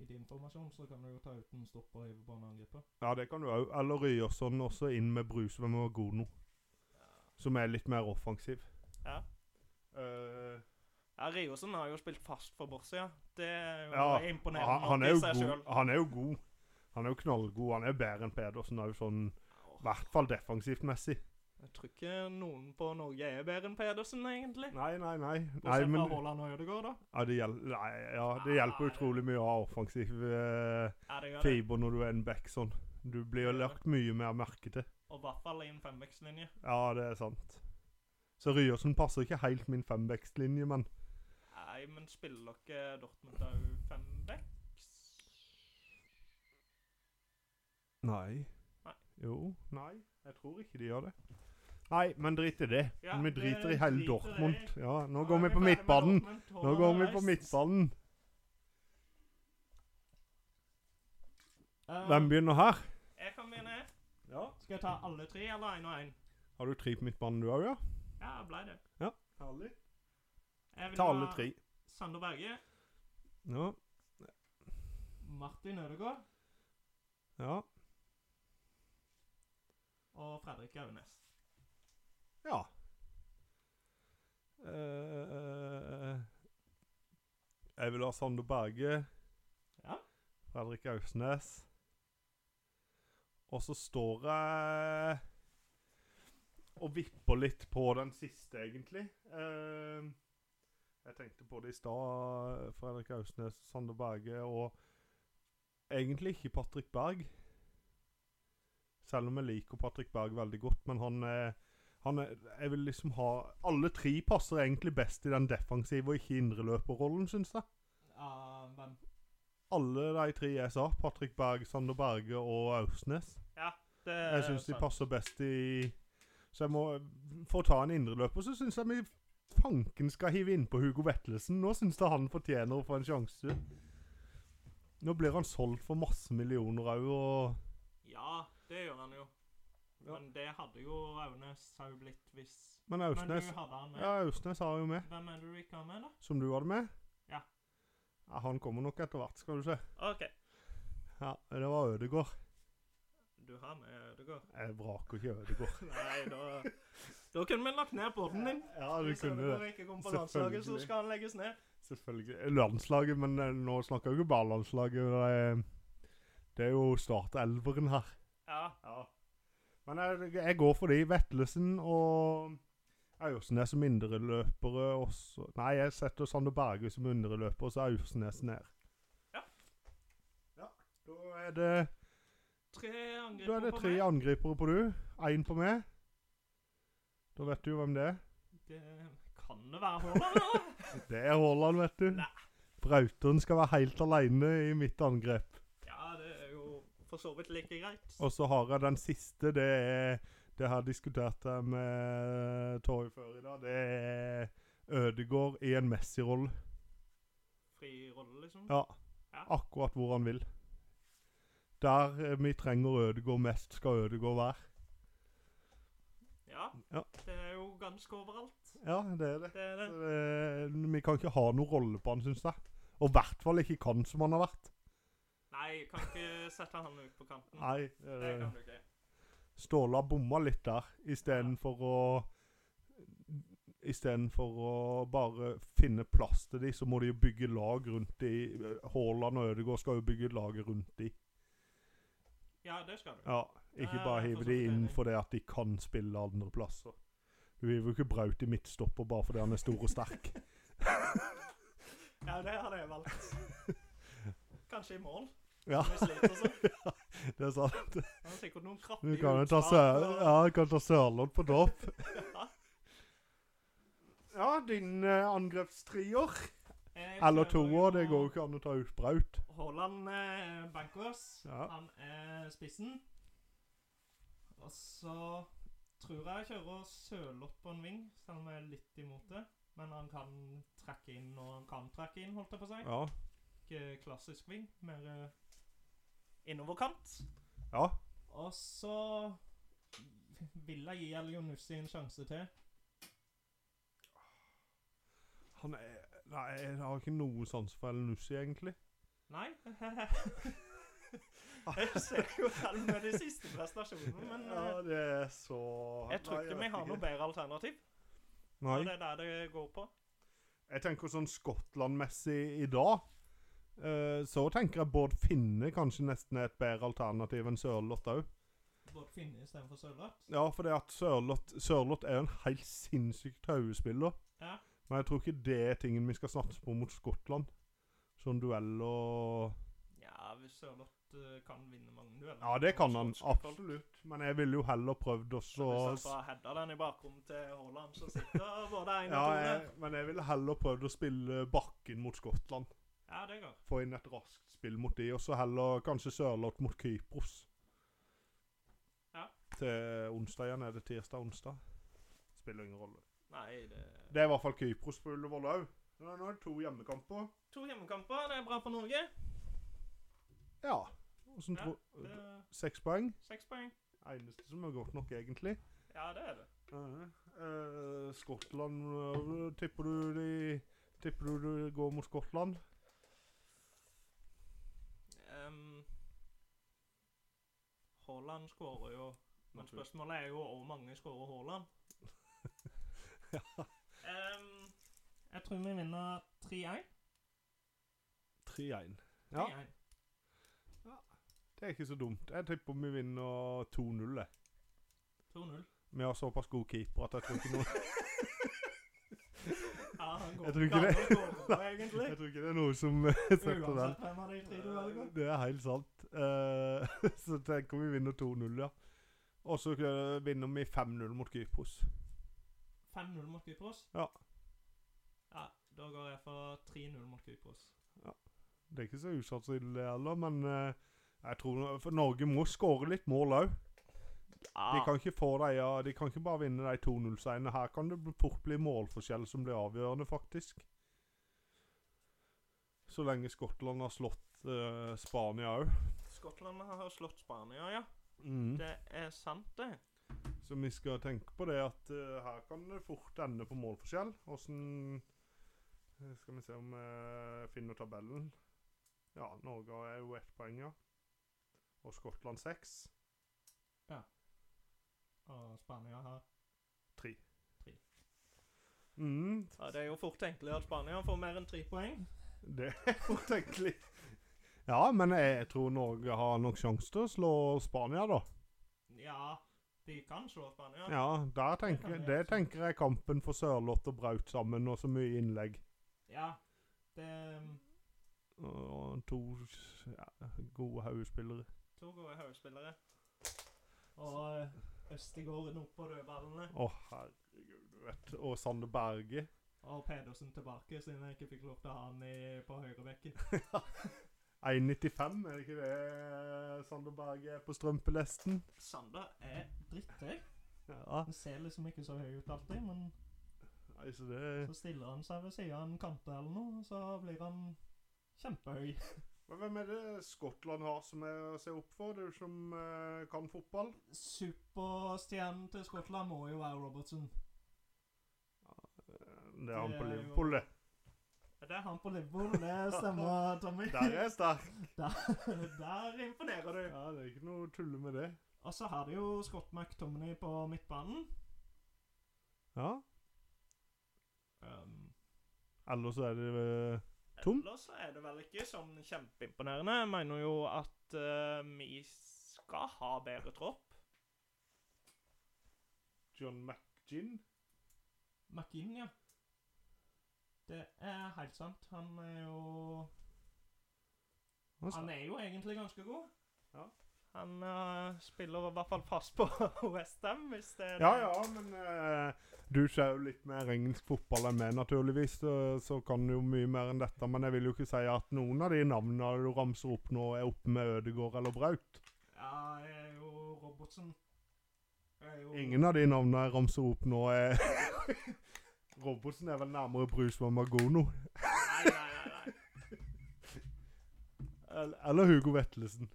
S2: I din formasjon så kan du jo ta ut en stopper og hive på en angriper.
S1: Ja, det kan du òg. Eller Ryerson også inn med Bruse, men med Magono. Som er litt mer offensiv.
S2: Ja.
S1: Eh,
S2: Ja, Riosen har jo spilt fast for Borsia. Det er jo
S1: Ja,
S2: imponerende
S1: han, han,
S2: nok
S1: er
S2: i
S1: jo
S2: seg
S1: god,
S2: selv.
S1: han er jo god. Han er jo knallgod. Han er bedre enn Pedersen, er jo sånn, i hvert fall defensivt messig.
S2: Jeg tror ikke noen på Norge er bedre enn Pedersen, egentlig.
S1: Nei, nei, nei. nei
S2: Bortsett fra
S1: men,
S2: Haaland og Ødegaard, da.
S1: ja, det hjel- nei, ja, det hjelper utrolig mye å ha offensiv eh,
S2: Ja, det gjør det.
S1: fiber når du er en back sånn. Du blir jo lagt mye mer merke til.
S2: Og i hvert fall i en femvektslinje.
S1: Ja, det er sant. Så Ryerson passer ikke helt min fembackslinje, men
S2: Nei, men spiller dere Dortmund òg fembacks?
S1: Nei.
S2: Nei.
S1: Jo. Nei, jeg tror ikke de gjør det. Nei, men drit i det.
S2: Ja,
S1: vi
S2: det
S1: driter i hele
S2: driter
S1: Dortmund.
S2: jeg
S1: Ja, nå går vi på midtbanen. Nå går vi på midtbanen. Hvem begynner her?
S2: Eh, Jeg kan begynne.
S1: Ja.
S2: Skal jeg ta alle tre, eller én og én?
S1: Har du tre på midtbanen du òg, ja?
S2: Ja, blei det.
S1: Herlig.
S2: Jeg vil
S1: Ta alle
S2: ha
S1: tre.
S2: Sander Berge,
S1: Ja.
S2: Martin Ødegaard
S1: Ja.
S2: og Fredrik Aunes.
S1: ja. Eh, jeg vil ha Sander Berge.
S2: Ja.
S1: Fredrik Ausnes. Og så står jeg og vipper litt på den siste, egentlig. Eh, jeg tenkte på det i stad. Fredrik Ausnes, Sander Berge og egentlig ikke Patrick Berg. Selv om jeg liker Patrick Berg veldig godt, men han er, han er Jeg vil liksom ha Alle tre passer egentlig best i den defensive og ikke indreløperrollen, syns jeg
S2: Ja, hvem?
S1: alle de tre jeg sa, Patrick Berg, Sander Berge og Ausnes.
S2: Det
S1: Jeg syns de
S2: sant.
S1: passer best i Så jeg må For å ta en indreløper, så syns jeg vi fanken skal hive innpå Hugo Vettelsen. Nå syns jeg han fortjener å få en sjanse. Nå blir han solgt for masse millioner òg, og
S2: Ja, det gjør han jo.
S1: Ja.
S2: Men det hadde jo Aunes òg blitt hvis
S1: Men
S2: Men du
S1: Ausnes
S2: hadde han med.
S1: Ja, Ausnes har jo med,
S2: Hvem er det du ikke har med, da?
S1: som du hadde med.
S2: Ja.
S1: Ja, Han kommer nok etter hvert, skal du se.
S2: OK.
S1: Ja, Det var Ødegård.
S2: Du har med Ødegaard.
S1: Jeg vraker Eh, ikke Ødegård.
S2: Nei, da Da kunne vi lagt ned båten din.
S1: Ja, du
S2: Hvis
S1: kunne det.
S2: Ødegaard ikke kom på landslaget, så
S1: Selvfølgelig.
S2: skal han legges ned.
S1: Selvfølgelig. Landslaget, men eh, nå snakker jeg jo ikke bare landslaget. Det er, det er jo startelveren her.
S2: Ja.
S1: Men jeg, jeg går for de. Vetlesen og Aursnes som indreløpere. og så- Nei, jeg setter Sander Berge som indreløper, og så Aursnes ned.
S2: Ja.
S1: ja. Da er det,
S2: Tre
S1: da er
S2: angripere
S1: det
S2: på
S1: tre
S2: meg.
S1: angripere på du. Én på meg. Da vet du jo hvem det er.
S2: Det kan det være Haaland, eller?
S1: Det er Haaland, vet du.
S2: Nei.
S1: Brauteren skal være helt aleine i mitt angrep.
S2: ja, det er jo for så vidt like greit.
S1: Og så har jeg den siste, det er Det her diskuterte jeg med Torje før i dag. Det er Ødegård i en Messi-rolle.
S2: rolle, liksom.
S1: Ja.
S2: Ja.
S1: Akkurat hvor han vil. Der eh, vi trenger Ødegård mest, skal Ødegård være.
S2: Ja.
S1: Ja.
S2: Det er jo ganske overalt.
S1: Ja, det er det.
S2: Det er det.
S1: Så det. Vi kan ikke ha noen rolle på han, syns jeg. Og i hvert fall ikke kan som han har vært.
S2: Nei, kan ikke sette han ut på kanten.
S1: Nei.
S2: Det
S1: eh,
S2: kan du ikke.
S1: Ståle har bomma litt der, istedenfor å Istedenfor å bare finne plass til de, så må de jo bygge lag rundt de. Haaland og Ødegaard skal jo bygge laget rundt de.
S2: Ja, det skal du.
S1: Ja, Ikke
S2: Ja,
S1: bare hive
S2: jeg er for så
S1: de
S2: vidt
S1: inn
S2: enig.
S1: fordi at de kan spille andre plasser. Du hiver jo ikke Braut i midtstopper bare fordi han er stor og sterk.
S2: Ja, det hadde jeg valgt. Kanskje i mål.
S1: Ja,
S2: Vi sliter sånn.
S1: det er sant.
S2: Han har sikkert noen
S1: Du
S2: kraftige
S1: kan jo ta, Sør ja, du kan ta Sørlodd på topp.
S2: Ja.
S1: Ja, din eh, angrepstrier. Eller toer. Det går jo ikke an å ta ut Braut.
S2: Haaland eh, Bankers.
S1: Ja.
S2: Han er spissen. Og så tror jeg jeg kjører Sørloth på en ving, selv om jeg er litt imot det. Men han kan trekke inn når han kan trekke inn, holdt jeg på å si.
S1: Ja.
S2: Ikke klassisk ving, mer eh, innoverkant.
S1: ja.
S2: Og så vil jeg gi Elionussi en sjanse til.
S1: Han er Nei, jeg har ikke noe sans for Elnussi, egentlig.
S2: Nei. jeg ser jo selv med de siste prestasjonene, men eh,
S1: Ja, det er så
S2: jeg tror
S1: Nei,
S2: ikke
S1: vet
S2: vi har noe bedre alternativ.
S1: Nei.
S2: Og det er der det går på.
S1: Jeg tenker sånn Skottland-messig i dag eh, så tenker jeg Bård Finne kanskje nesten er et bedre alternativ enn Sørloth òg.
S2: Bård Finne istedenfor Sørloth.
S1: Ja, for det at Sørloth Sørloth er jo en helt sinnssykt hovedspiller.
S2: Ja.
S1: Men jeg tror ikke det er tingen vi skal satse på mot Skottland. Sånn duell og
S2: Ja, hvis Sørloth eh, kan vinne mange dueller
S1: Ja, det kan han absolutt. Men jeg ville jo heller prøvd å
S2: Så hvis han
S1: så-
S2: bare header den i bakrommet til Haaland, så sitter både én
S1: Ja,
S2: og to der.
S1: jeg, men jeg ville heller prøvd å spille bakken mot Skottland.
S2: Ja, det går.
S1: Få inn et raskt spill mot de, og så heller kanskje Sørloth mot Kypros.
S2: Ja.
S1: Til onsdag igjen. Er det tirsdag-onsdag? Spiller ingen rolle.
S2: Nei, det
S1: Det er i hvert fall Kypros på Ullevål òg. Nå er det to hjemmekamper.
S2: To hjemmekamper, det er bra for Norge.
S1: Ja. Hvordan
S2: Ja,
S1: tror
S2: Det er
S1: Seks poeng.
S2: Seks poeng.
S1: Eneste som er godt nok, egentlig.
S2: Ja, det er det.
S1: Eh, Skottland eh, Tipper du de Tipper du de går mot Skottland?
S2: Ehm, Haaland skårer jo Men spørsmålet er jo hvor mange skårer Haaland. Ehm, jeg tror vi vinner 3-1.
S1: 3-1. Ja.
S2: 3-1.
S1: Det er ikke så dumt. Jeg tipper vi vinner 2-0. jeg.
S2: 2-0.
S1: Vi har såpass god keeper at jeg tror ikke, noe,
S2: Ja, han går
S1: Jeg tror ikke
S2: ikke an
S1: det.
S2: å score på, egentlig.
S1: jeg tror ikke det er noe som eh, setter den.
S2: Uansett hvem av de tre du velger.
S1: Det er helt sant. Eh, Så tenker vi vinner 2-0, ja. Og så eh, vinner vi 5-0 mot Kypros.
S2: 5-0 mot Kypros?
S1: Ja.
S2: Ja, Da går jeg for 3-0 mot Kypros.
S1: Det er ikke så usannsynlig heller, men eh, jeg tror no- For Norge må skåre litt mål òg. De kan ikke få de, ja, de kan ikke bare vinne de 2-0-seierne. Her kan det bli- fort bli målforskjell som blir avgjørende, faktisk. Så lenge Skottland har slått eh, Spania Mm. òg.
S2: Skottland har slått Spania, ja. Det er sant, det.
S1: Så vi skal tenke på det at eh, her kan det fort ende på målforskjell. Åssen Skal vi se om jeg finner tabellen. Ja, Norge er jo ett poeng, ja. Og Skottland seks.
S2: Og Spania har
S1: Tre.
S2: Tre.
S1: Mm,
S2: ja, Det er jo fort tenkelig at Spania får mer enn tre poeng.
S1: det er fortenkelig. Ja, men jeg tror Norge har nok sjanse til å slå Spania, da.
S2: Ja, de kan slå Spania.
S1: Ja, der tenker, Det tenker jeg kampen for Sørloth og Braut sammen, og så mye innlegg.
S2: Ja, det mm,
S1: Og to ja, gode hodespillere.
S2: To gode høyspillere. Og eh, Østegården opp på dødballene.
S1: Å, herregud, du vet. Og Sander Berge.
S2: Og Pedersen tilbake, siden jeg ikke fikk lov til å ha han i, på høyrebekken.
S1: 1,95, er det ikke det Sander Berge er på strømpelesten?
S2: Sander er drittøy.
S1: Ja.
S2: Han ser liksom ikke så høy ut alltid, men
S1: Nei, så det
S2: så stiller han seg ved siden av en kante eller noe, og så blir han Kjempehøy.
S1: Men hvem er det Skottland har som er å se opp for? Du som eh, kan fotball?
S2: Superstjernen til Skottland må jo være Robertson.
S1: Eh, Det er han
S2: Det
S1: på
S2: er jo-
S1: Liverpool, det.
S2: Det er han på Liverpool, det stemmer, Tommy.
S1: Der er jeg sterk.
S2: Der imponerer du.
S1: Ja, det er ikke noe å tulle med det.
S2: Og så har du jo Scott McTominay på midtbanen.
S1: Ja.
S2: Um,
S1: Ellers er det eh, Tom?
S2: Ellers så er det vel ikke sånn kjempeimponerende. Jeg mener jo at eh, vi skal ha bedre tropp.
S1: John McGinn.
S2: McInn, ja. Det er helt sant. Han er jo
S1: Hva sa-
S2: Han er jo egentlig ganske god.
S1: Ja.
S2: Han eh, spiller i hvert fall fast på Westham, hvis det er
S1: Ja, ja, men eh, du ser jo litt mer engelsk fotball enn meg, naturligvis. Så, så kan du jo mye mer enn dette. Men jeg vil jo ikke si at noen av de navnene du ramser opp nå, er oppe med Ødegård eller Braut.
S2: ja jeg er jo Robertsen. Jeg er jo
S1: Ingen av de navnene jeg ramser opp nå, er Robertsen er vel nærmere Brusvann Magono.
S2: Nei, nei, nei. nei.
S1: Eller, eller Hugo Vettelsen.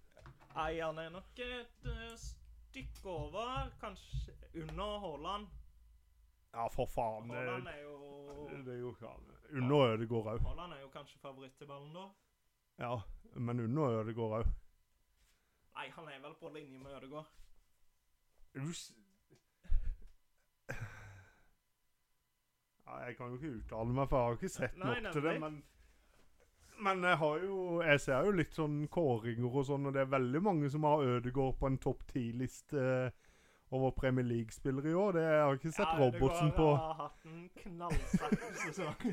S2: nei han er nok et eh, stykke over, kanskje under Haaland.
S1: Ja, for faen.
S2: Haaland
S1: Det,
S2: er jo
S1: det er jo ikke Under Ødegård òg.
S2: Haaland er jo kanskje favoritt til ballen, da.
S1: Ja, men under Ødegård òg.
S2: Nei, han er vel på linje med Ødegaard.
S1: Ja, jeg kan jo ikke uttale meg, for jeg har ikke sett
S2: Nei,
S1: nok til det.
S2: nemlig.
S1: Men, men jeg har jo Jeg ser jo litt sånn kåringer og sånn, og det er veldig mange som har Ødegård på en topp ti-liste eh, over Premier League-spillere i år. Det jeg har ikke sett Robertsen på.
S2: har hatt en knallsterk sesong.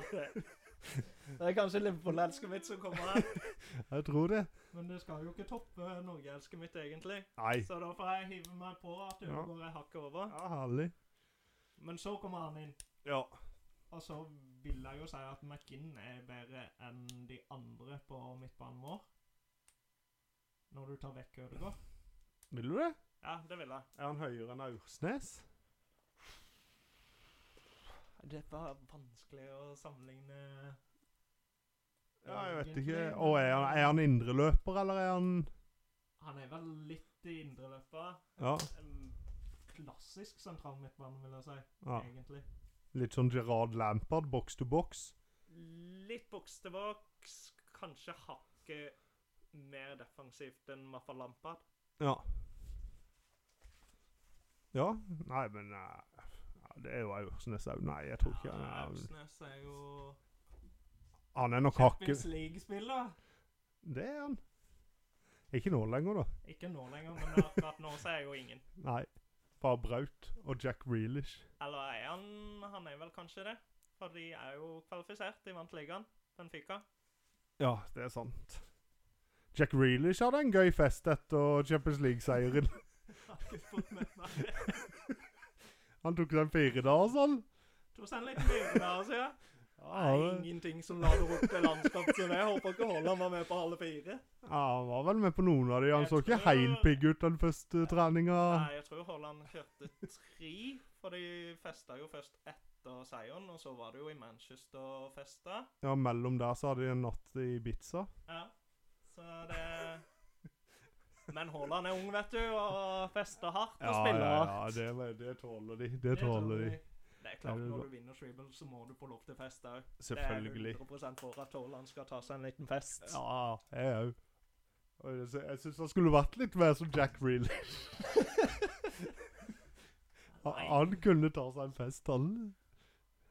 S2: det er kanskje Liverpool-elsket mitt som kommer her.
S1: Jeg tror det.
S2: Men det skal jo ikke toppe Norge-elsket mitt, egentlig.
S1: Nei.
S2: Så da får jeg hive meg på at
S1: Ja.
S2: Ødegaard er hakket over.
S1: Ja, herlig.
S2: Men så kommer han inn.
S1: Ja.
S2: Og så vil jeg jo si at McInn er bedre enn de andre på midtbanen vår. Når du tar vekk Ødegaard.
S1: Vil du det?
S2: Ja, det vil jeg.
S1: Er han høyere enn Aursnes?
S2: Det var vanskelig å sammenligne
S1: Ja, jeg vet
S2: Egentlig,
S1: ikke.
S2: men-
S1: Og er han, er han indreløper, eller er han
S2: Han er vel litt i indreløpet.
S1: Ja.
S2: En klassisk sentral midtbane, vil jeg si.
S1: ja.
S2: Egentlig.
S1: Litt sånn Gerard Lampard, box to box.
S2: Litt boks til boks. Kanskje hakket mer defensivt enn Maffa Lampard.
S1: Ja. Ja, nei, men eh, ja, Det er jo Aursnes òg. Nei, jeg tror ikke
S2: Ja,
S1: han er
S2: Aursnes er jo
S1: Han er nok hakket
S2: Champions League-spiller.
S1: Det er han. Ikke nå lenger, da.
S2: Ikke nå lenger, men akkurat nå så er jo ingen.
S1: Nei. Bare Braut og Jack Reelish.
S2: Eller er han Han er vel kanskje det? For de er jo kvalifisert. De vant ligaen, Benfica.
S1: Ja, det er sant. Jack Reelish hadde en gøy fest etter Champions League-seieren.
S2: Har ikke fått med meg det.
S1: Han tok seg en firedager, sånn.
S2: Tok seg en liten bilde av oss, ja. Det
S1: Ja,
S2: er
S1: det-
S2: ingenting som lader opp til landskap som det. Håper ikke Haaland var med på halve fire.
S1: ja, han var vel med på noen av de. Han
S2: Jeg
S1: så ikke
S2: tror-
S1: helt pigg ut den første treninga.
S2: Nei, jeg tror Haaland kjørte tre, for de festa jo først etter seieren, og så var det jo i Manchester og festa.
S1: Ja, mellom der så hadde de en natt i Ibiza.
S2: Ja. Så det Men Haaland er ung, vet du, og fester hardt og spiller
S1: ja,
S2: hardt.
S1: det, var- det tåler de. Det tåler de.
S2: Det er klart,
S1: Det er
S2: når
S1: bra.
S2: du vinner Shribble, så må du få lov til fest òg.
S1: Selvfølgelig.
S2: Det er 100 for at Haaland skal ta seg en liten fest.
S1: Ja, jeg òg. Og jeg sy- Jeg syns han skulle vært litt mer som Jack Reel.
S2: Nei,
S1: Han kunne ta seg en fest, han.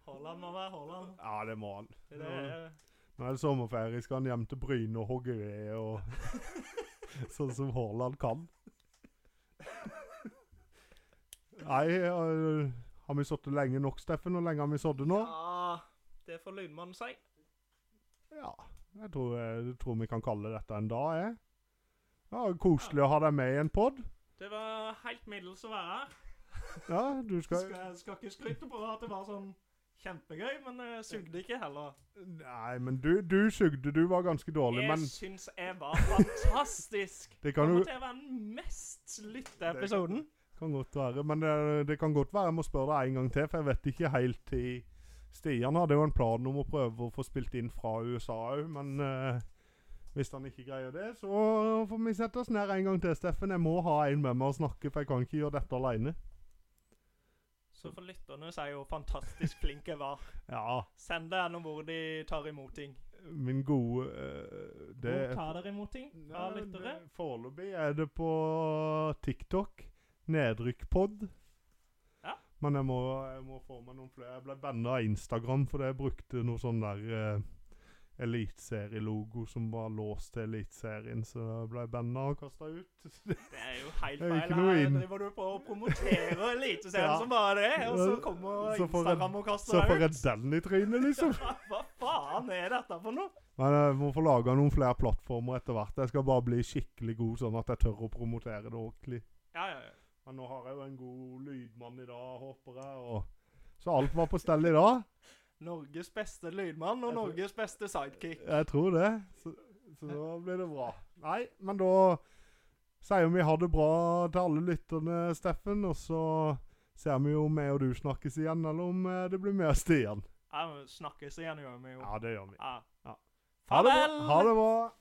S2: Haaland må være Haaland.
S1: Ja, det må han.
S2: Det er
S1: Nå er det sommerferie, skal han hjem til Bryne og hogge ved og Sånn som Haaland kan. Nei, øh, har vi sittet lenge nok, Steffen? Hvor lenge har vi sittet nå?
S2: Ja, det får lydmannen si.
S1: Ja, jeg tror, jeg tror vi kan kalle dette en dag, jeg. Ja, koselig å ha deg med i en pod.
S2: Det var helt middels å være her.
S1: Ja, du skal...
S2: Skal, skal ikke skryte på at det var sånn kjempegøy, men jeg sugde ikke heller.
S1: Nei, men du, du sugde, du var ganske dårlig,
S2: Jeg
S1: men
S2: syns jeg var fantastisk.
S1: det kan jo
S2: Kommer til å være den mest lytta episoden.
S1: eh, kan godt være. Men det, det kan godt være jeg må spørre deg en gang til, for jeg vet ikke helt i Stian hadde jo en plan om å prøve å få spilt inn fra USA òg, men eh, hvis han ikke greier det, så får vi sette oss ned en gang til, Steffen. Jeg må ha en med meg å snakke, for jeg kan ikke gjøre dette alene.
S2: Så for lytterne så er jeg jo fantastisk flink jeg var.
S1: Ja,
S2: Send deg gjerne hvor de tar imot ting.
S1: min gode eh, det,
S2: Hvor tar dere imot ting fra
S1: Nei,
S2: lyttere?
S1: det- Foreløpig er det på TikTok. Nedrykkpod.
S2: Ja.
S1: Men jeg må, jeg må få meg noen flere. Jeg ble banna av Instagram fordi jeg brukte noe sånn der eh, eliteserielogo som var låst til eliteserien, så jeg ble banna og kasta ut.
S2: Det er jo helt
S1: Det er jo
S2: feil.
S1: ikke noe
S2: Her
S1: inn.
S2: driver du på å promotere Eliteserien
S1: Ja.
S2: som bare det, og så
S1: Ja,
S2: kommer
S1: så får jeg-
S2: Instagram og
S1: så
S2: kaster
S1: får
S2: deg ut.
S1: jeg den i trynet, liksom.
S2: Hva faen er dette for noe?
S1: Men jeg må få laga noen flere plattformer etter hvert. Jeg skal bare bli skikkelig god, sånn at jeg tør å promotere det ordentlig.
S2: Ja, ja, ja.
S1: Men nå har jeg jo en god lydmann i dag, håper jeg. Og så alt var på stell i dag.
S2: Norges beste lydmann og
S1: Jeg tror-
S2: Norges beste sidekick.
S1: Jeg tror det. Så, så da blir det bra. Nei, men da sier vi ha det bra til alle lytterne, Steffen. Og så ser vi jo om jeg og du snakkes igjen, eller om eh, det blir mer Stian.
S2: Ja, men Snakkes igjen, gjør vi jo.
S1: Ja, det gjør vi.
S2: Ja.
S1: Ha det bra. Ha det bra.